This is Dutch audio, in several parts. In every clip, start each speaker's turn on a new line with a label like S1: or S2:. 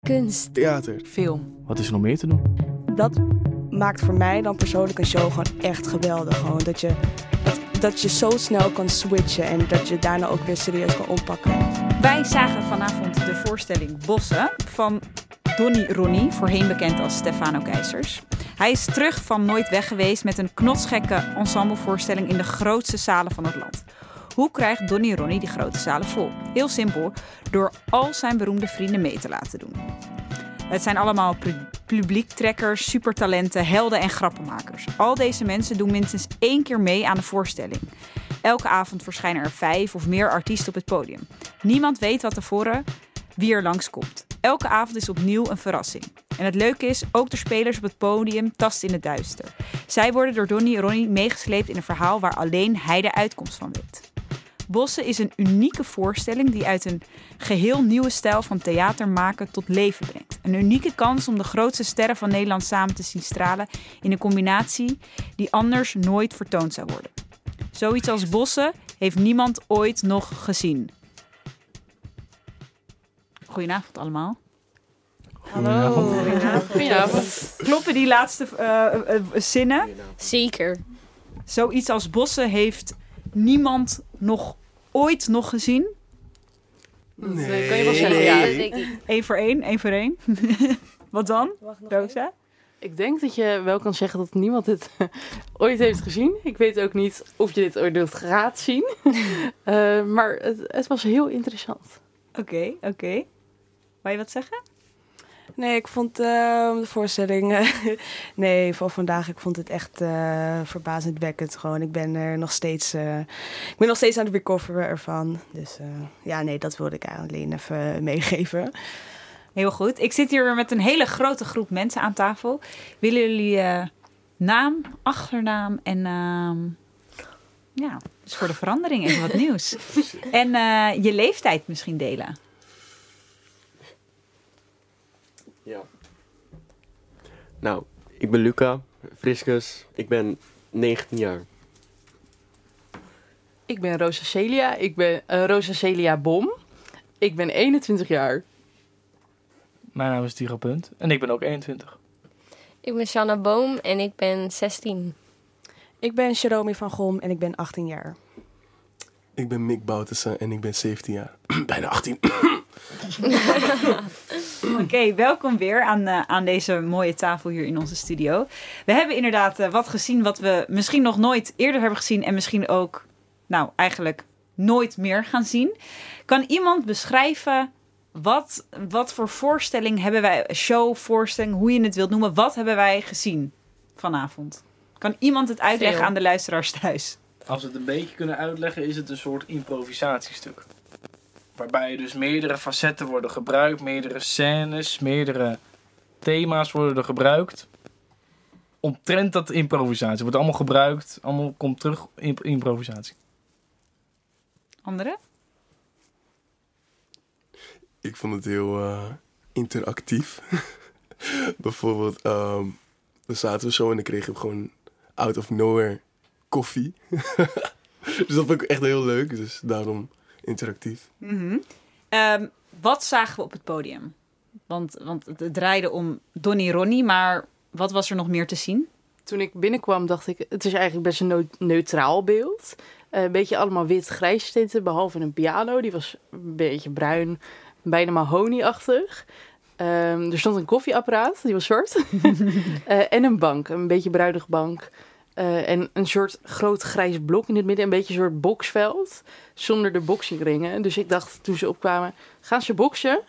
S1: Kunst.
S2: theater.
S3: Film.
S4: Wat is er nog meer te doen?
S5: dat maakt voor mij dan persoonlijk een show gewoon echt geweldig. Gewoon dat je, dat, dat je zo snel kan switchen en dat je daarna ook weer serieus kan oppakken.
S6: Wij zagen vanavond de voorstelling Bossen van Donny Ronnie, voorheen bekend als Stefano Keizers. Hij is terug van Nooit Weg geweest met een knotsgekke ensemblevoorstelling in de grootste zalen van het land. Hoe krijgt Donny Ronnie die grote zalen vol? Heel simpel, door al zijn beroemde vrienden mee te laten doen. Het zijn allemaal pu- publiektrekkers, supertalenten, helden en grappenmakers. Al deze mensen doen minstens één keer mee aan de voorstelling. Elke avond verschijnen er vijf of meer artiesten op het podium. Niemand weet wat tevoren wie er langskomt. Elke avond is opnieuw een verrassing. En het leuke is, ook de spelers op het podium tasten in het duister. Zij worden door Donnie en Ronnie meegesleept in een verhaal waar alleen hij de uitkomst van weet. Bossen is een unieke voorstelling die uit een geheel nieuwe stijl van theater maken tot leven brengt. Een unieke kans om de grootste sterren van Nederland samen te zien stralen in een combinatie die anders nooit vertoond zou worden. Zoiets als Bossen heeft niemand ooit nog gezien. Goedenavond allemaal.
S4: Hallo.
S6: Kloppen die laatste eh, eh, zinnen?
S1: Zeker.
S6: Zoiets als Bossen heeft niemand nog ooit nog gezien.
S2: Nee.
S3: eh, kan je wel zeggen, ja.
S2: nee.
S6: Eén voor één, één voor één. Wat dan, Rosa?
S3: Ik denk dat je wel kan zeggen dat niemand dit eh, ooit heeft gezien. Ik weet ook niet of je dit ooit gaat zien. Eh, maar het, het was heel interessant.
S6: Oké, oké. Wou je wat zeggen?
S5: Nee, ik vond ehm, de voorstelling. eh, nee, van vandaag. Ik vond het echt eh, verbazendwekkend. Gewoon, ik ben er nog steeds. eh, ik ben nog steeds aan het recoveren ervan. Dus eh, ja, nee, dat wilde ik eigenlijk alleen even meegeven.
S6: Heel goed. Ik zit hier weer met een hele grote groep mensen aan tafel. Willen jullie eh, naam, achternaam en ehm ja, dus voor de verandering even wat nieuws. En eh, je leeftijd misschien delen.
S7: Nou, ik ben Luca Friscus. Ik ben 19 jaar.
S3: Ik ben Rosa Celia. Ik ben eh, Rosa Celia Bom. Ik ben 21 jaar.
S4: Mijn naam is Tiro Punt en ik ben ook 21.
S1: Ik ben Shanna Boom en ik ben 16.
S5: Ik ben Jerome van Gom en ik ben 18 jaar.
S2: Ik ben Mick Boutersen en ik ben 17 jaar. Bijna 18.
S6: Oké, welkom weer aan, eh, aan deze mooie tafel hier in onze studio. We hebben inderdaad eh, wat gezien wat we misschien nog nooit eerder hebben gezien en misschien ook, nou eigenlijk nooit meer gaan zien. Kan iemand beschrijven wat, wat voor voorstelling hebben wij, show, voorstelling, hoe je het wilt noemen, wat hebben wij gezien vanavond? Kan iemand het uitleggen
S3: Veel.
S6: aan de luisteraars thuis?
S4: Als we het een beetje kunnen uitleggen, is het een soort improvisatiestuk. Waarbij dus meerdere facetten worden gebruikt, meerdere scènes, meerdere thema's worden er gebruikt. Omtrent dat improvisatie. Wordt allemaal gebruikt, allemaal komt terug in improvisatie.
S6: Andere?
S2: Ik vond het heel eh, interactief. Bijvoorbeeld, ehm dan zaten we zo en dan kregen we gewoon out of nowhere koffie. dus dat vond ik echt heel leuk. Dus daarom interactief.
S6: Mhm. Ehm, wat zagen we op het podium? Want, want het het draaide om Donnie Ronnie, maar wat was er nog meer te zien?
S3: Toen ik binnenkwam dacht ik, het is eigenlijk best een neu- neutraal beeld. Eh, een beetje allemaal wit-grijs tinten, behalve een piano. Die was een beetje bruin, bijna mahonieachtig. Ehm er stond een koffieapparaat, die was zwart. Eh, en een bank, een beetje bruinig bank. Eh, en een soort groot grijs blok in het midden, een beetje een soort boksveld. Zonder de boksingringen. Dus ik dacht toen ze opkwamen, gaan ze boksen?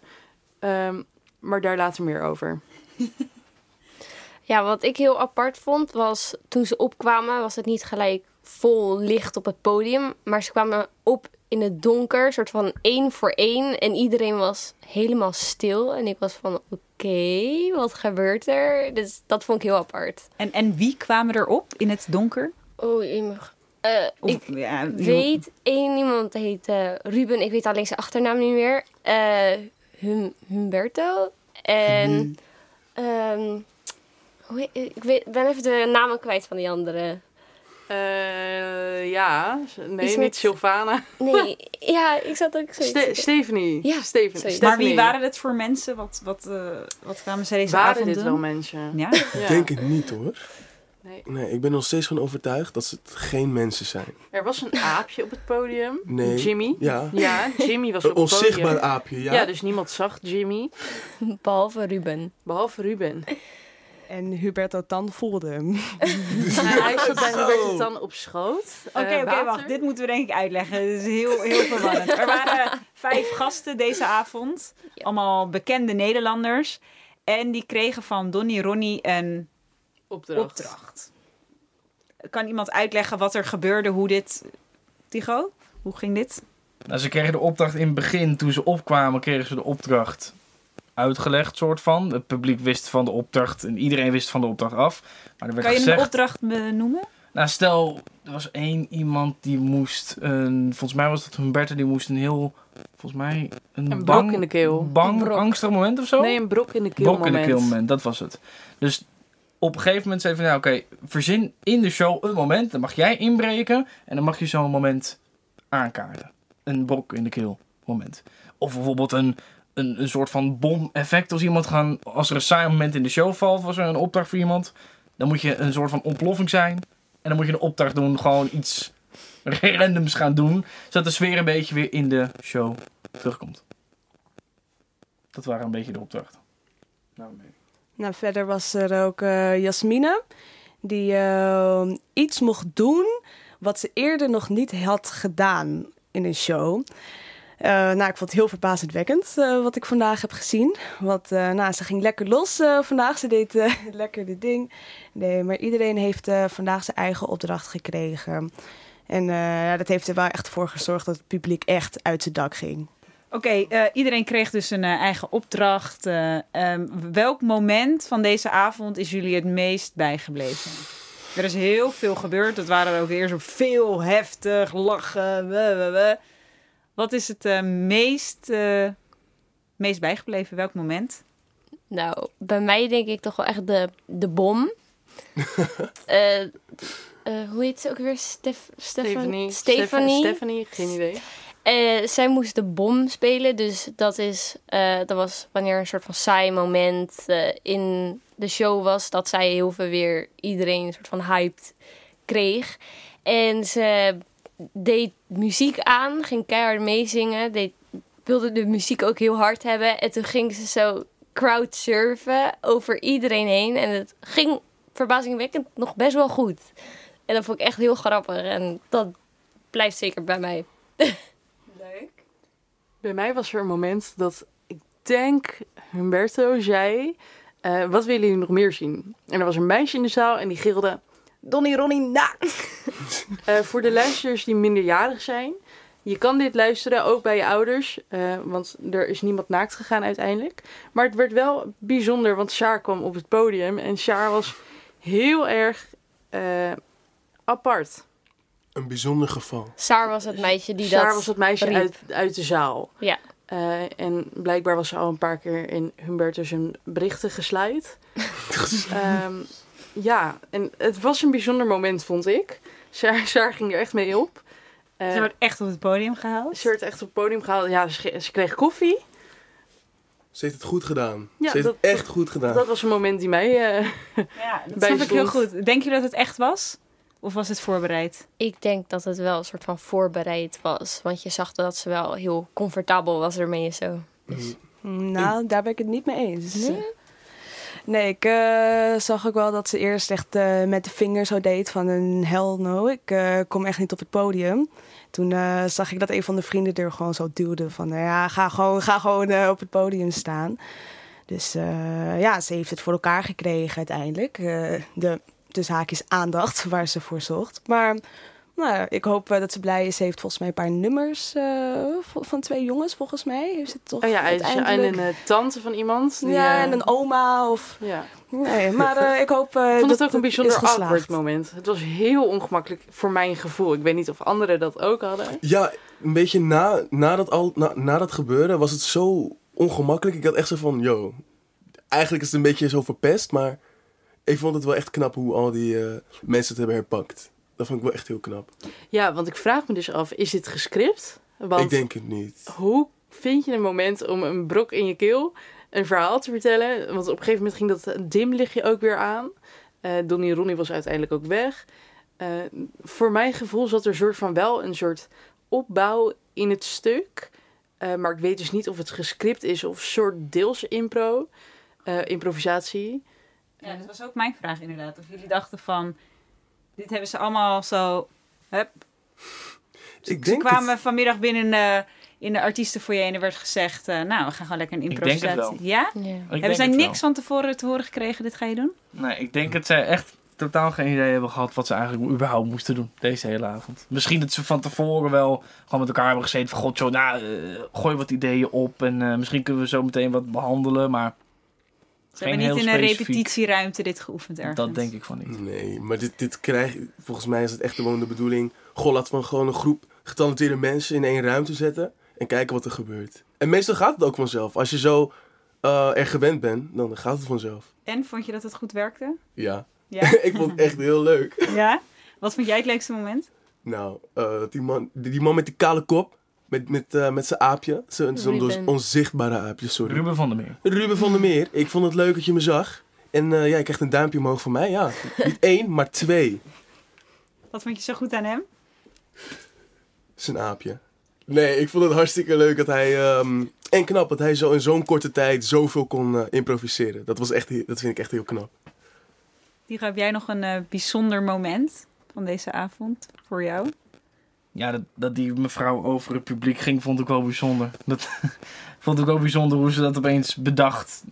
S3: Ehm, maar daar later meer over.
S1: Ja, wat ik heel apart vond was toen ze opkwamen, was het niet gelijk vol licht op het podium. Maar ze kwamen op in het donker, soort van één voor één. En iedereen was helemaal stil. En ik was van: oké, wat gebeurt er? Dus dat vond ik heel apart.
S6: En, en wie kwamen erop in het donker?
S1: Oh, je mag. eh,
S6: Of,
S1: ik
S6: ja, iemand-
S1: weet één iemand heet eh, Ruben, ik weet alleen zijn achternaam niet meer. Eh, hum, Humberto. En. ehm, hoe he- ik weet, ben even de namen kwijt van die andere.
S3: Eh, ja, nee, niet
S1: Iets met-
S3: Sylvana.
S1: Nee, ja, ik zat ook zo.
S3: Ste- Stephanie.
S1: Ja,
S3: Steven-
S1: zoiets.
S6: Maar
S3: Stephanie.
S6: wie waren het voor mensen? Wat, wat, eh, wat kwamen ze deze
S3: Waren
S6: avond
S3: dit
S6: doen?
S3: wel mensen?
S6: Ja,
S3: Ja.
S2: Ik denk het niet hoor.
S3: Nee.
S2: Nee, ik ben er nog steeds van overtuigd dat ze het geen mensen zijn.
S3: Er was een aapje op het podium.
S2: Nee.
S3: Jimmy.
S2: Ja.
S3: Ja, Jimmy was op
S2: Een
S3: het
S2: onzichtbaar
S3: podium.
S2: aapje, ja.
S3: Ja. dus niemand zag Jimmy.
S1: Behalve Ruben.
S3: Behalve Ruben.
S5: En Huberto Tan voelde hem.
S3: hij zat bij Roberto dan op schoot. eh,
S6: Oké,
S1: Eh,
S6: oké, wacht. Dit moeten we denk ik uitleggen. Het is heel, heel verwarrend. Er waren vijf gasten deze avond.
S1: Ja.
S6: Allemaal bekende Nederlanders. En die kregen van Donnie Ronnie een
S3: Opdracht.
S6: opdracht. Kan iemand uitleggen wat er gebeurde? Hoe dit... Tigo, hoe ging dit?
S4: Nou, ze kregen de opdracht in het begin, toen ze opkwamen, kregen ze de opdracht uitgelegd, soort van. Het publiek wist van de opdracht en iedereen wist van de opdracht af. Maar er werd
S6: Kan je
S4: gezegd...
S6: een opdracht benoemen?
S4: Nou, stel, er was één iemand die moest een... Volgens mij was dat Humberto, die moest een heel... Volgens mij een,
S3: Een brok
S4: bang,
S3: in de keel.
S4: bang
S1: Een brok.
S4: angstig moment of zo?
S3: Nee, een brok in de keel
S4: Brok in de
S3: moment.
S4: keel moment, dat was het. Dus op een gegeven moment zei hij van, nou, oké, verzin in de show een moment. Dan mag jij inbreken en dan mag je zo'n moment aankaarten. Een brok in de keel moment. Of bijvoorbeeld een, een, een soort van bom-effect als iemand gaan... Als er een saai moment in de show valt, was er een opdracht voor iemand. Dan moet je een soort van ontploffing zijn. En dan moet je een opdracht doen, gewoon iets randoms gaan doen. Zodat de sfeer een beetje weer in de show terugkomt. Dat waren een beetje de opdrachten. Nou, nee.
S5: Nou, verder was er ook eh Jasmine, die eh, iets mocht doen wat ze eerder nog niet had gedaan in een show. Eh, nou, ik vond het heel verbazendwekkend eh, wat ik vandaag heb gezien. Want eh, nou, ze ging lekker los eh, vandaag. Ze deed eh, lekker dit ding. Nee, maar iedereen heeft eh, vandaag zijn eigen opdracht gekregen. En eh, ja, dat heeft er wel echt voor gezorgd dat het publiek echt uit zijn dak ging.
S6: Oké, eh, iedereen kreeg dus een eh, eigen opdracht. Eh, ehm, welk moment van deze avond is jullie het meest bijgebleven? Er is heel veel gebeurd. Het waren ook weer zo veel heftig, lachen. we, we, we. Wat is het eh, meest, eh, meest bijgebleven? Welk moment?
S1: Nou, bij mij denk ik toch wel echt de, de bom. Eh, eh, hoe heet ze ook weer? Stef, Stefan-
S3: Stephanie.
S1: Stephanie.
S3: Stephanie, geen idee.
S1: Eh, zij moest de bom spelen. Dus dat, is, eh, dat was wanneer een soort van saai moment eh, in de show was. Dat zij heel veel weer iedereen een soort van hyped kreeg. En ze deed muziek aan, ging keihard meezingen. Deed, wilde de muziek ook heel hard hebben. En toen ging ze zo crowdsurfen over iedereen heen. En het ging verbazingwekkend nog best wel goed. En dat vond ik echt heel grappig. En dat blijft zeker bij mij.
S3: Bij mij was er een moment dat ik denk Humberto zei: eh, Wat willen jullie nog meer zien? En er was een meisje in de zaal en die gilde: Donnie Ronnie naakt! Eh, voor de luisteraars die minderjarig zijn, je kan dit luisteren ook bij je ouders, eh, want er is niemand naakt gegaan uiteindelijk. Maar het werd wel bijzonder, want Sjaar kwam op het podium en Sjaar was heel erg eh, apart.
S2: Een bijzonder geval.
S1: Saar was het meisje die
S3: Saar
S1: dat...
S3: was het meisje
S1: riep.
S3: uit, uit de zaal.
S1: Ja.
S3: Eh, en blijkbaar was ze al een paar keer in Humbertus hun berichten gesluit. Ehm, ja, en het was een bijzonder moment, vond ik. Saar, Saar ging er echt mee op. Eh,
S6: Ze wordt echt op het podium gehaald.
S3: ze werd echt op het podium gehaald. Ja, ze, ge- ze kreeg koffie.
S2: Ze heeft het goed gedaan.
S3: Ja,
S2: ze heeft
S3: dat-
S2: het echt goed gedaan.
S3: Dat was een moment die mij... eh,
S6: Ja, dat
S3: Bij
S6: snap ik heel
S3: stond.
S6: goed. Denk je dat het echt was? Of was het voorbereid?
S1: Ik denk dat het wel een soort van voorbereid was. Want je zag dat ze wel heel comfortabel was ermee en zo.
S2: Mhm.
S5: Nou, daar ben ik het niet mee eens. Nee, ik eh, zag ook wel dat ze eerst echt eh, met de vinger zo deed van een hell no, ik eh, kom echt niet op het podium. Toen eh, zag ik dat een van de vrienden er gewoon zo duwde van nou ja, ga gewoon, ga gewoon eh, op het podium staan. Dus eh, ja, ze heeft het voor elkaar gekregen uiteindelijk. eh, de tussen haakjes aandacht waar ze voor zocht. Maar nou, ja, ik hoop eh, dat ze blij is. Ze heeft volgens mij een paar nummers eh, vo- van twee jongens volgens mij. Heeft ze toch
S3: oh ja, en en
S5: uiteindelijk...
S3: een eh, tante van iemand. Die,
S5: Ja,
S3: eh,
S5: en een oma of...
S3: ja.
S5: Nee, maar eh, ik hoop eh,
S3: Ik vond
S5: dat
S3: het ook een
S5: is
S3: bijzonder
S5: geslaagd.
S3: awkward moment. Het was heel ongemakkelijk voor mijn gevoel. Ik weet niet of anderen dat ook hadden.
S2: Ja, een beetje na, na, dat al, na, na dat gebeuren was het zo ongemakkelijk. Ik had echt zo van, yo, eigenlijk is het een beetje zo verpest, maar ik vond het wel echt knap hoe al die eh, mensen het hebben herpakt. Dat vond ik wel echt heel knap.
S3: Ja, want ik vraag me dus af, is dit gescript? Want
S2: Ik denk het niet.
S3: hoe vind je een moment om een brok in je keel een verhaal te vertellen? Want op een gegeven moment ging dat dimlichtje ook weer aan. Eh Donnie Ronnie was uiteindelijk ook weg. Eh, voor mijn gevoel zat er soort van wel een soort opbouw in het stuk. Eh, maar ik weet dus niet of het gescript is of soort deels impro, eh, improvisatie.
S6: Ja, dat was ook mijn vraag inderdaad. Of jullie dachten van, dit hebben ze allemaal zo... Hup. Ze,
S2: Ik
S6: ze
S2: denk
S6: kwamen
S2: het.
S6: vanmiddag binnen in de, in de artiestenfoyer en er werd gezegd... eh, nou, we gaan gewoon lekker een
S4: Ik denk het
S6: improvisatie. Ja?
S1: Ja.
S4: Ik
S6: hebben
S4: denk
S6: zij
S4: het wel.
S6: niks van tevoren te horen gekregen, dit ga je doen?
S4: Nee, ik denk dat zij echt totaal geen idee hebben gehad wat ze eigenlijk überhaupt moesten doen deze hele avond. Misschien dat ze van tevoren wel gewoon met elkaar hebben gezeten van god joh, nou, eh, gooi wat ideeën op en eh, misschien kunnen we zo meteen wat behandelen, maar
S6: Ze
S4: Geen
S6: hebben niet in
S4: heel
S6: een
S4: specifiek.
S6: repetitieruimte dit geoefend ergens.
S4: dat denk ik van niet.
S2: Nee, maar dit, dit krijg Volgens mij is het echt gewoon de bedoeling. Goh, laten we gewoon een groep getalenteerde mensen in één ruimte zetten. En kijken wat er gebeurt. En meestal gaat het ook vanzelf. Als je zo eh, er gewend bent, dan gaat het vanzelf.
S6: En, vond je dat het goed werkte?
S2: Ja.
S6: Ja?
S2: ik vond het echt heel leuk.
S6: ja? Wat vond jij het leukste moment?
S2: Nou, eh, die, man, die, die man met die kale kop. Met, met, eh, met zijn aapje. Zo'n zo'n dus
S1: Ruben.
S2: onzichtbare aapje, sorry.
S4: Ruben van der Meer.
S2: Ruben van der Meer, ik vond het leuk dat je me zag. En eh, ja, je krijgt een duimpje omhoog van mij, ja. Niet één, maar twee.
S6: Wat vond je zo goed aan hem?
S2: Zijn aapje. Nee, ik vond het hartstikke leuk dat hij... ehm, en knap dat hij zo in zo'n korte tijd zoveel kon eh, improviseren. Dat, was echt, he- dat vind ik echt heel knap.
S6: Diego, heb jij nog een eh, bijzonder moment van deze avond voor jou?
S4: Ja, dat, dat die mevrouw over het publiek ging, vond ik wel bijzonder. Dat vond ik ook bijzonder hoe ze dat opeens bedacht.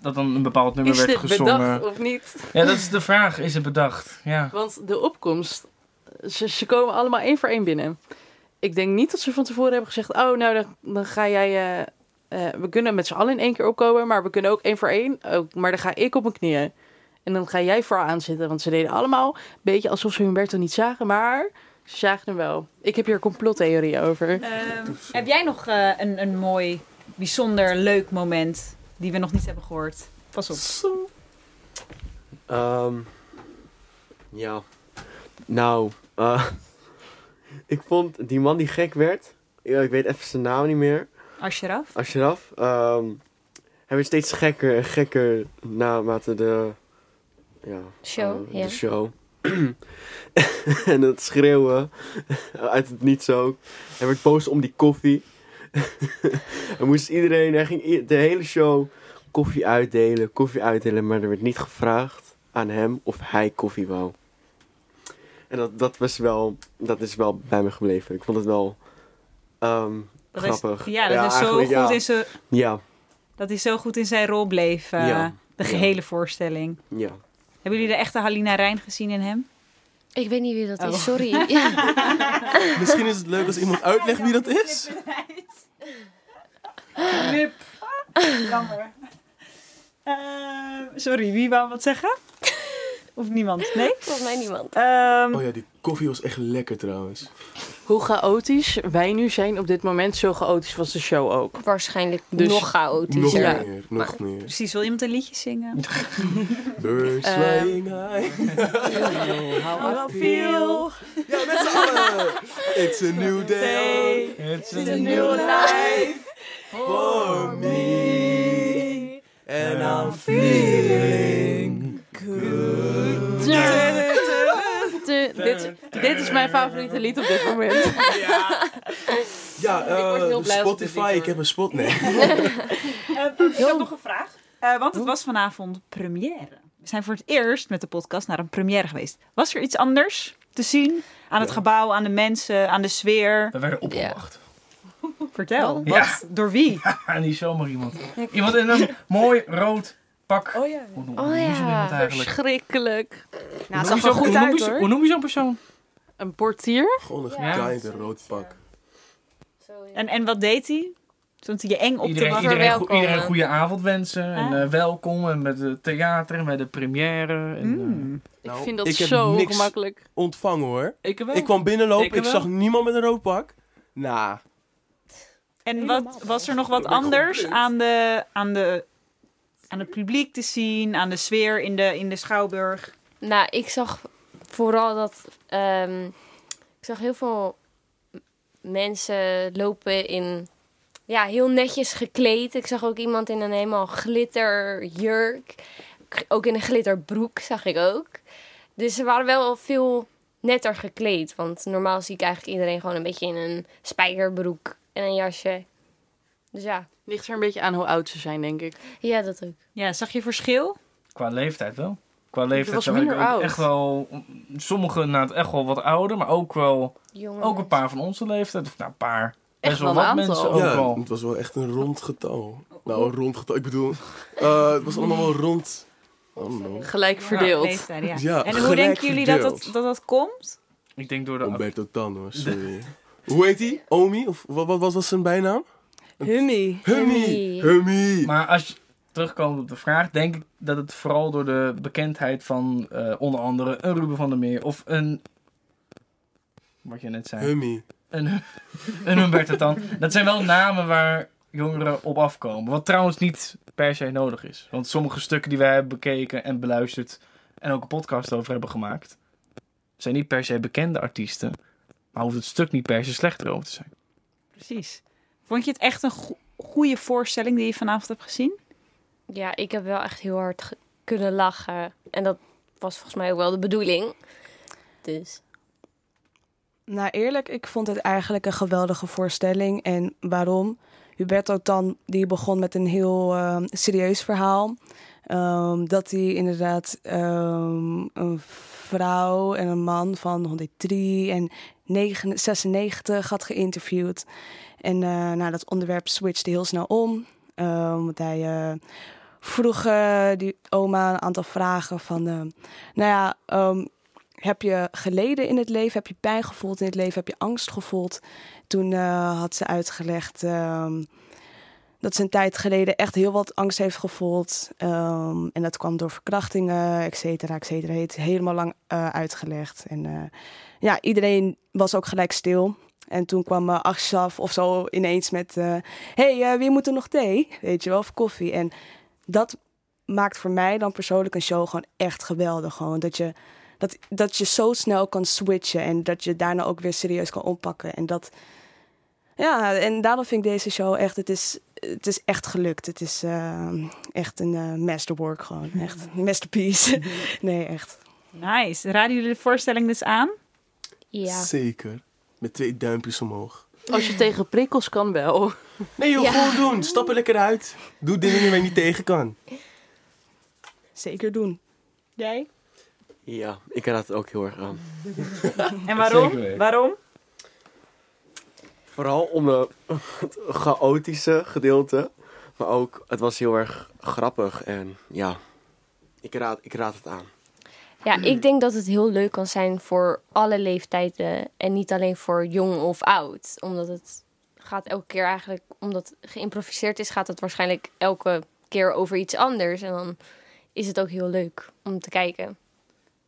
S4: Dat dan een bepaald nummer
S3: Is
S4: werd
S3: dit
S4: gezongen.
S3: bedacht of niet?
S4: Ja, dat is de vraag. Is het bedacht? Ja.
S3: Want de opkomst, ze, ze komen allemaal één voor één binnen. Ik denk niet dat ze van tevoren hebben gezegd: Oh, nou dan, dan ga jij. eh, eh, we kunnen met z'n allen in één keer opkomen, maar we kunnen ook één voor één. Ook, maar dan ga ik op mijn knieën. En dan ga jij voor aan zitten. Want ze deden allemaal een beetje alsof ze Humberto niet zagen, maar ze zagen hem wel. Ik heb hier complottheorie over.
S6: Ehm, heb jij nog eh, een, een mooi, bijzonder, leuk moment die we nog niet hebben gehoord? Pas op.
S7: Ehm, ja. Nou, eh, ik vond die man die gek werd. ja, Ik weet even zijn naam niet meer.
S6: Ashraf?
S7: Ashraf. ehm hij werd steeds gekker en gekker naarmate de, ja,
S1: Show,
S2: Oh,
S7: eh,
S1: ja.
S7: de
S2: dus-
S7: show. en het schreeuwen. Uit het niets ook. Hij werd boos om die koffie. hij moest iedereen, hij ging i- de hele show koffie uitdelen, koffie uitdelen. Maar er werd niet gevraagd aan hem of hij koffie wou. En dat, dat was wel, dat is wel bij me gebleven. Ik vond het wel ehm,
S6: Dat is-
S7: grappig.
S6: ja, dat, is zo goed
S7: eigenlijk, ja.
S6: in zijn,
S7: Ja,
S6: dat hij zo goed in zijn rol bleef. eh,
S7: Ja.
S6: De
S7: Ja.
S6: gehele voorstelling.
S7: ja.
S6: Hebben jullie de echte Halina Rijn gezien in hem?
S1: Ik weet niet wie dat
S6: Oh.
S1: is, sorry. Ja.
S2: Misschien is het leuk als iemand uitlegt wie dat is.
S6: Knip. Jammer. Ehm, sorry, wie wou wat zeggen? Of niemand? Nee?
S1: Volgens mij niemand.
S6: Ehm,
S2: Oh ja, die koffie was echt lekker trouwens.
S3: Hoe chaotisch wij nu zijn op dit moment, zo chaotisch was de show ook.
S1: Waarschijnlijk
S3: Dus
S1: nog chaotischer.
S2: Nog
S3: Ja.
S2: meer, nog meer.
S6: Precies, wil iemand een liedje zingen?
S2: Birds
S3: Ehm.
S2: flying high. Ja, met z'n allen. It's a new day
S4: Het
S3: is een nieuwe life
S2: for me. And I'm feeling good.
S3: Dit, dit is mijn favoriete lied op dit moment.
S2: Ja,
S3: word heel
S2: eh
S3: blij als ik dit
S2: Spotify,
S3: hoor.
S2: ik heb een spot. Nee.
S6: Eh, ik heb nog een vraag. Eh, want het was vanavond première. We zijn voor het eerst met de podcast naar een première geweest. Was er iets anders te zien? Aan het gebouw, aan de mensen, aan de sfeer?
S4: We werden opgewacht.
S6: Vertel.
S4: Ja.
S6: Wat? Door wie?
S4: En niet zomaar iemand. Iemand in een mooi rood pak.
S5: Oh ja.
S4: Hoe noem- hoe
S1: Oh
S4: noem je zo'n iemand
S1: ja.
S4: eigenlijk?
S5: Verschrikkelijk. Nou, het
S4: Hoe
S5: zag
S4: noem je
S5: er
S4: zo'n- hoe
S5: goed
S4: noem je
S5: uit
S4: zo-
S5: hoor.
S4: Hoe noem je zo'n persoon?
S3: Een portier?
S2: Gewoon een
S1: Ja.
S2: guy in een rood pak.
S6: En, en wat deed hij? Stond hij je eng op te
S4: Iedereen,
S6: wachten?
S4: iedereen,
S1: Verwelkomen.
S4: go- iedereen een goede avond wensen. En
S6: Ah.
S4: eh, welkom. En met het theater en met de première. En,
S6: Mm.
S3: Ik
S2: Nou,
S3: vind dat
S2: ik heb
S3: zo
S2: niks
S3: ongemakkelijk.
S2: Ontvangen hoor.
S4: eh, ik wel.
S2: Ik kwam binnenlopen,
S4: Ik
S2: ik,
S4: wel.
S2: zag niemand met een rood pak. Nou,
S6: En wat, was er nog wat anders aan, de, aan, de, aan het publiek te zien? Aan de sfeer in de, in de schouwburg?
S1: Nou, ik zag vooral dat ehm, ik zag heel veel m- mensen lopen in ja, heel netjes gekleed. Ik zag ook iemand in een helemaal glitterjurk. K- Ook in een glitterbroek zag ik ook. Dus ze waren wel veel netter gekleed. Want normaal zie ik eigenlijk iedereen gewoon een beetje in een spijkerbroek en een jasje. Dus ja,
S3: Ligt er een beetje aan hoe oud ze zijn, denk ik.
S1: ja dat ook.
S6: Ja, zag je verschil?
S4: Qua leeftijd wel. Qua leeftijd
S3: was
S4: zag ik ook
S3: minder oud.
S4: echt wel... Sommigen inderdaad echt wel wat ouder, maar ook wel...
S1: Jongen.
S4: Ook een paar van onze leeftijd. Of nou, een paar.
S3: Echt
S4: Best wel
S3: wel
S4: wat
S3: een
S4: mensen
S3: aantal.
S4: ook
S2: ja,
S4: wel.
S2: het was wel echt een rond getal. Nou, een rond getal. Ik bedoel, eh, het was allemaal wel rond. I don't know.
S3: Gelijk
S6: Ja,
S3: verdeeld.
S6: leeftijd, ja.
S2: Ja,
S6: en hoe
S2: gelijk
S6: denken jullie dat dat,
S2: verdeeld.
S6: dat dat komt?
S4: Ik denk door de...
S2: Umberto Tan, hoor. Sorry. Hoe heet hij? Omi? Of wat, wat, wat was zijn bijnaam?
S5: Hummy.
S2: Hummy!
S1: Hummy.
S2: Hummy!
S4: Maar als je terugkomt op de vraag, denk ik dat het vooral door de bekendheid van eh, onder andere een Ruben van der Meer of een. Wat je net zei.
S2: Hummy.
S4: Een, een Humberto dan. Dat zijn wel namen waar jongeren op afkomen. Wat trouwens niet per se nodig is. Want sommige stukken die wij hebben bekeken en beluisterd. en ook een podcast over hebben gemaakt. zijn niet per se bekende artiesten. Maar hoeft het stuk niet per se slechter over te zijn.
S6: Precies. Vond je het echt een go- goede voorstelling die je vanavond hebt gezien?
S1: Ja, ik heb wel echt heel hard ge- kunnen lachen. En dat was volgens mij ook wel de bedoeling. Dus.
S5: Nou eerlijk, ik vond het eigenlijk een geweldige voorstelling. En waarom? Huberto Tan die begon met een heel ehm, serieus verhaal. Ehm, dat hij inderdaad ehm, een vrouw en een man van 103 en 9 96 had geïnterviewd. En eh, nou, dat onderwerp switchte heel snel om. Ehm, want hij eh, vroeg eh, die oma een aantal vragen van... ehm, nou ja, ehm, heb je geleden in het leven? Heb je pijn gevoeld in het leven? Heb je angst gevoeld? Toen eh, had ze uitgelegd ehm, dat ze een tijd geleden echt heel wat angst heeft gevoeld. Ehm, en dat kwam door verkrachtingen, et cetera, et cetera. Heeft helemaal lang eh, uitgelegd. En eh, ja, iedereen was ook gelijk stil. En toen kwam eh Achsaf of zo ineens met... eh, hey, eh, wie moet er nog thee? Weet je wel, of koffie. En dat maakt voor mij dan persoonlijk een show gewoon echt geweldig. Gewoon dat je dat, dat je zo snel kan switchen en dat je daarna ook weer serieus kan oppakken. En dat. Ja, en daarom vind ik deze show echt. Het is, het is echt gelukt. Het is eh, echt een eh, masterwork, gewoon. Echt een masterpiece. nee, echt.
S6: Nice. Raden jullie de voorstelling dus aan?
S1: Ja.
S2: Zeker. Met twee duimpjes omhoog.
S3: Als je tegen prikkels kan wel.
S2: Nee joh,
S1: Ja.
S2: gewoon doen. Stap er lekker uit. Doe dingen waar je niet tegen kan.
S5: Zeker doen.
S6: Jij.
S7: Ja, ik raad het ook heel erg aan.
S6: En waarom?
S4: Zeker.
S6: Waarom?
S7: Vooral om de, het chaotische gedeelte. Maar ook, het was heel erg grappig. En ja, ik raad, ik raad het aan.
S1: Ja, ik denk dat het heel leuk kan zijn voor alle leeftijden en niet alleen voor jong of oud. Omdat het gaat elke keer eigenlijk, omdat het geïmproviseerd is, gaat het waarschijnlijk elke keer over iets anders. En dan is het ook heel leuk om te kijken.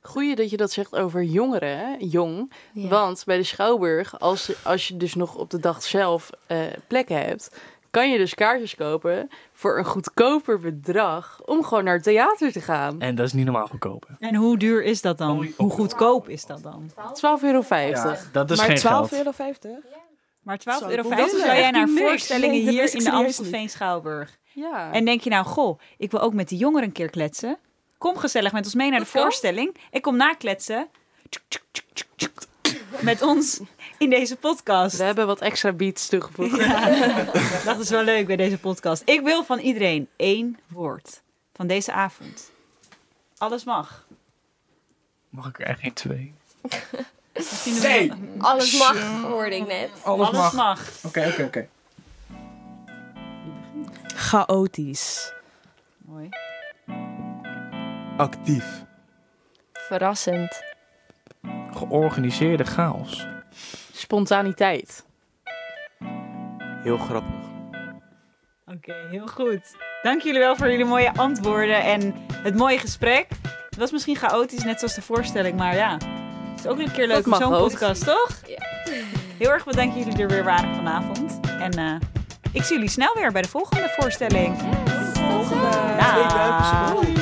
S3: Goeie dat je dat zegt over jongeren, hè? jong.
S1: Ja.
S3: Want bij de Schouwburg, als, als je dus nog op de dag zelf eh, plekken hebt, kan je dus kaartjes kopen voor een goedkoper bedrag om gewoon naar het theater te gaan.
S4: En dat is niet normaal goedkoop. hè.
S6: En hoe duur is dat dan? Hoe goedkoop is dat dan?
S3: 12,50 euro.
S4: Ja, dat is geen
S5: maar 12,50
S4: geld.
S5: euro?
S6: Maar 12,50
S5: Zo,
S6: euro
S5: dat is
S6: zou jij
S5: echt
S6: naar
S5: niks.
S6: voorstellingen
S5: Nee, dat
S6: hier
S5: wist ik
S6: in de
S5: serieus
S6: Amstelveen Schouwburg.
S3: Ja.
S6: En denk je nou, goh, ik wil ook met de jongeren een keer kletsen. Kom gezellig met ons mee naar de
S3: Dat kan.
S6: voorstelling. Ik kom nakletsen. Tjuk, tjuk, tjuk, tjuk, tjuk. Met ons in deze podcast.
S3: we hebben wat extra beats toegevoegd.
S6: Dat is wel leuk bij deze podcast. Ik wil van iedereen één woord van deze avond. Alles mag.
S4: Mag ik er echt geen twee?
S6: Misschien doen we-
S4: Nee!
S1: Alles mag, hoorde ik net.
S4: Alles,
S6: Alles
S4: mag.
S6: mag.
S4: Oké, oké, oké.
S5: Chaotisch.
S6: Mooi.
S2: Actief.
S1: Verrassend.
S4: Georganiseerde chaos.
S3: Spontaniteit.
S7: Heel grappig.
S6: Oké, heel goed. Dank jullie wel voor jullie mooie antwoorden en het mooie gesprek. Het was misschien chaotisch, net zoals de voorstelling, maar ja. Het is ook een keer leuk
S3: Dat
S6: om
S3: mag
S6: zo'n
S3: ook.
S6: podcast, toch?
S1: Ja.
S6: Heel erg bedankt dat jullie er weer waren vanavond. En eh, ik zie jullie snel weer bij de volgende voorstelling. Volgende. Dag.